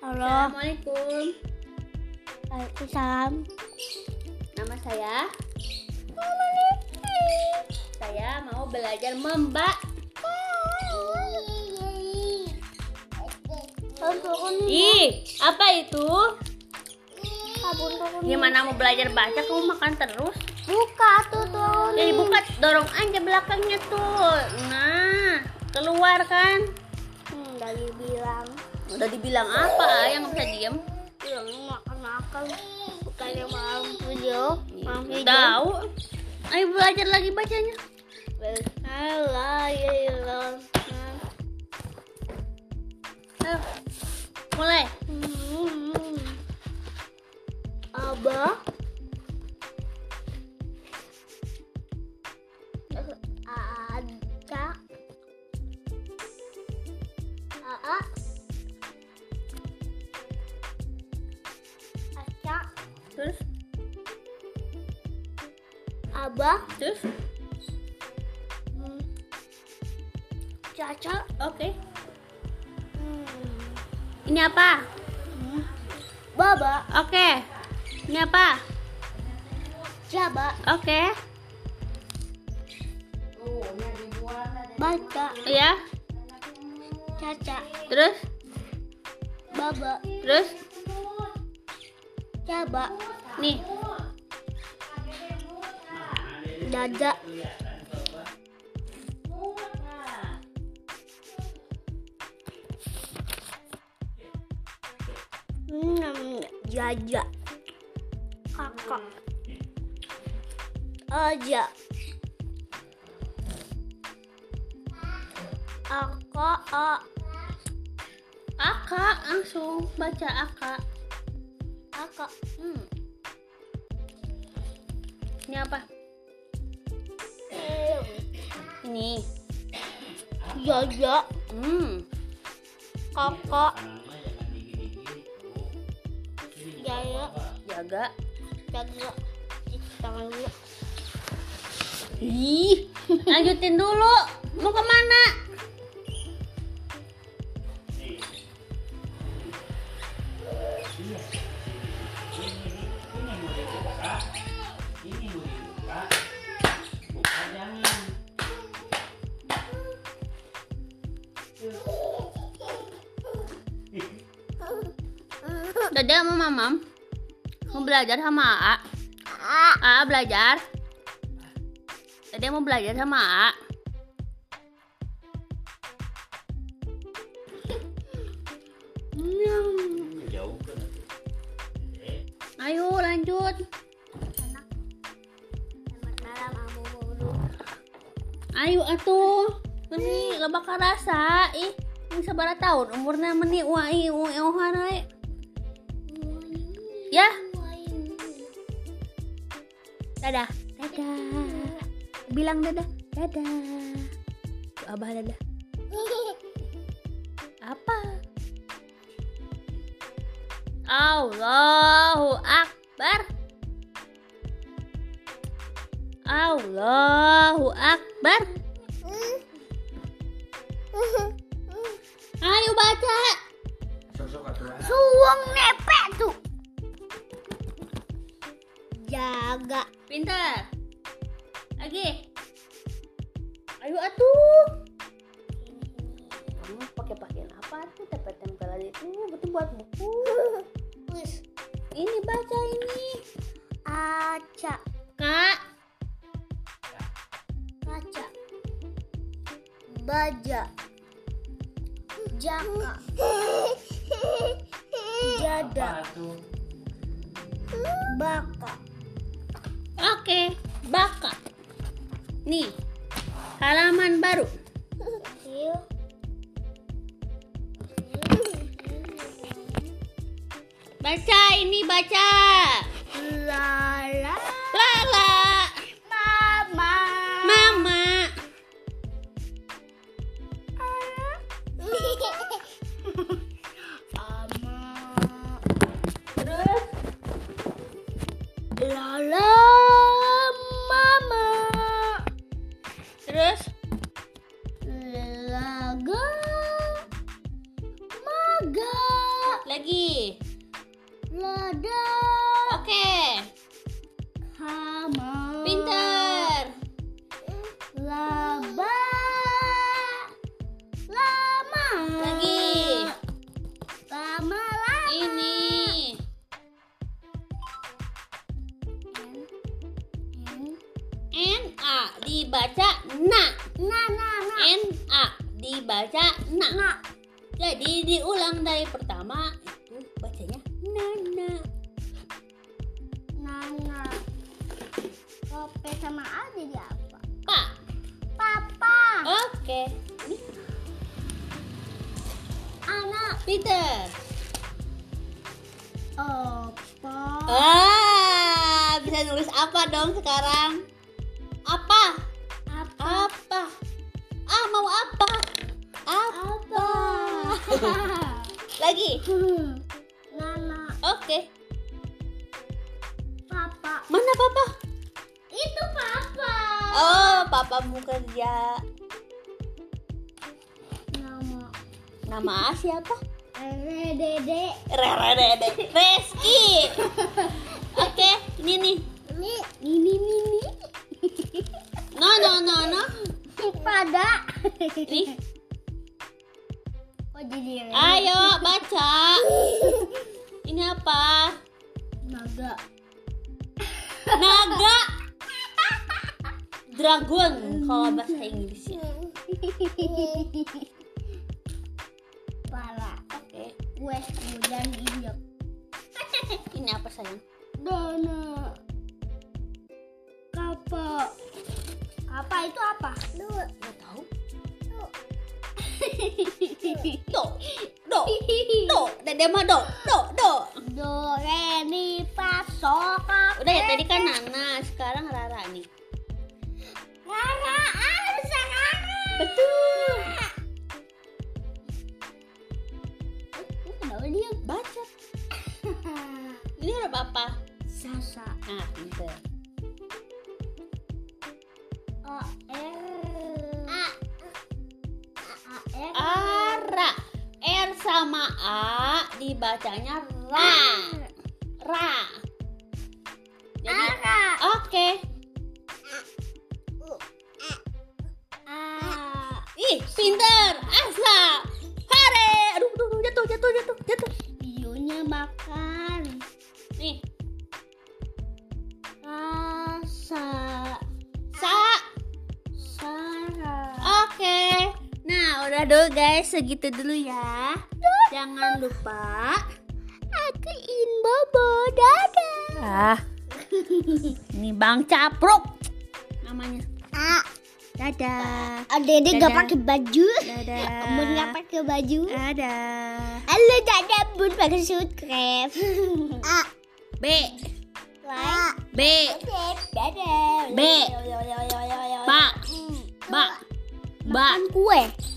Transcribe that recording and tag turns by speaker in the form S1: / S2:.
S1: warahmatullahi
S2: Assalamualaikum.
S1: Waalaikumsalam.
S2: Nama saya. Saya mau belajar membak.
S1: Iya.
S2: Ih, apa itu? Gimana mau belajar baca kamu makan terus?
S1: Buka tuh turun.
S2: Ya dibuka, dorong aja belakangnya tuh. Nah, keluar kan?
S1: Hmm, dari bilang.
S2: Udah dibilang apa yang bisa diem?
S1: Bilang makan makan. kan? Bukannya malam video. Malam video.
S2: Tahu? Ayo belajar lagi bacanya.
S1: Bismillahirrahmanirrahim.
S2: Ayo, mulai.
S1: Mm-hmm. Abah. Eh, Ada. Aa. Aca.
S2: Terus,
S1: Abah.
S2: terus,
S1: Hmm. Caca.
S2: oke.
S1: Hmm.
S2: Ini apa?
S1: Hmm. Baba.
S2: Oke. Ini apa?
S1: Jaba.
S2: Oke.
S1: Baca.
S2: Ya.
S1: Caca.
S2: Terus,
S1: Baba.
S2: terus.
S1: Jaba.
S2: Nih,
S1: Dada. Hmm, jaja. Kakak. Aja. Aka, a,
S2: Aka langsung baca Aka.
S1: aka,
S2: Hmm. Ini apa? Ini.
S1: jaja,
S2: Hmm.
S1: kakak, jaya,
S2: Jaga.
S1: jaga, cuci tangan dulu.
S2: Ih, lanjutin dulu. Mau kemana? Dada sama mamam mau belajar sama Aa. Aa belajar. Dede mau belajar sama A. Ayo lanjut.
S1: Selamat malam, Amu Mulu.
S2: Ayo atuh. Meni loba karasa ih. Ini sabara tahun umurna meni wai wai ohana Ya, dadah. Dadah. Bilang dadah. Dadah. Tuh, Abah dadah. Apa? Allahu Akbar. Allahu Akbar. Ayo baca.
S1: Suwung nepek tuh. Jaga.
S2: Pintar. Lagi. Ayo atuh. Kamu pakai pakaian apa tuh? Tempel-tempelan itu betul buat buku.
S1: Wis.
S2: Ini baca ini.
S1: Aca.
S2: Kak,
S1: Kaca. Baja. Jaka. Jada. Baka.
S2: oke, baka. Nih. Halaman baru. Baca ini baca.
S1: Lala.
S2: Lala,
S1: Mama.
S2: mama.
S1: Mama.
S2: Terus
S1: Lala mama
S2: terus
S1: Lelaga Maga
S2: lagi. a dibaca na
S1: Nah, nah, nah.
S2: n a dibaca na
S1: Nah.
S2: jadi diulang dari pertama itu bacanya nana
S1: Nana. Kopi sama A jadi apa?
S2: pa
S1: Papa.
S2: oke
S1: Anak.
S2: Peter
S1: Opo.
S2: ah bisa nulis apa dong sekarang apa
S1: Apa?
S2: apa ah mau apa apa lagi
S1: Nana.
S2: oke
S1: Papa.
S2: mana papa
S1: Itu papa.
S2: oh papa mau kerja
S1: Nama. E
S2: nama A siapa
S1: Rere Dede.
S2: Rere Dede Reski oke ini nih
S1: Ini, ini, ini.
S2: no no no no
S1: Pada.
S2: nih
S1: Kok jadi Rere?
S2: ayo baca ini apa
S1: Naga.
S2: naga dragon kalau bahasa ya. Inggrisnya
S1: Pala.
S2: oke
S1: Kue kemudian injek.
S2: ini apa sayang
S1: Dona. Kappa. Apa itu apa? Lu.
S2: nggak tahu do do do dede mah do do do
S1: Do re mi fa so ka.
S2: udah ya tadi kan Nana sekarang Rara nih
S1: Rara ah bisa Rara.
S2: betul
S1: Lu Kenapa dia?
S2: baca ini huruf apa
S1: Sasa.
S2: ah pinter
S1: O R. A. A R.
S2: Ara R sama A dibacanya ra ra jadi
S1: Ara.
S2: oke
S1: A.
S2: ih pinter Asa hare aduh aduh aduh, jatuh jatuh jatuh jatuh
S1: Bionya makan.
S2: nih
S1: Rasa.
S2: sa
S1: Sara.
S2: oke nah udah dulu guys segitu dulu ya jangan lupa
S1: Aku in bobo dadah.
S2: ah ini bang capruk namanya
S1: Ah,
S2: dadah
S1: dede
S2: Dadah.
S1: gak pakai baju.
S2: Dadah.
S1: Bun gak pakai baju.
S2: ada
S1: Halo dadah bun pakai suit krep. Ah,
S2: B
S1: like.
S2: B
S1: Dadah.
S2: B. Ba Ba Ba
S1: Makan kue.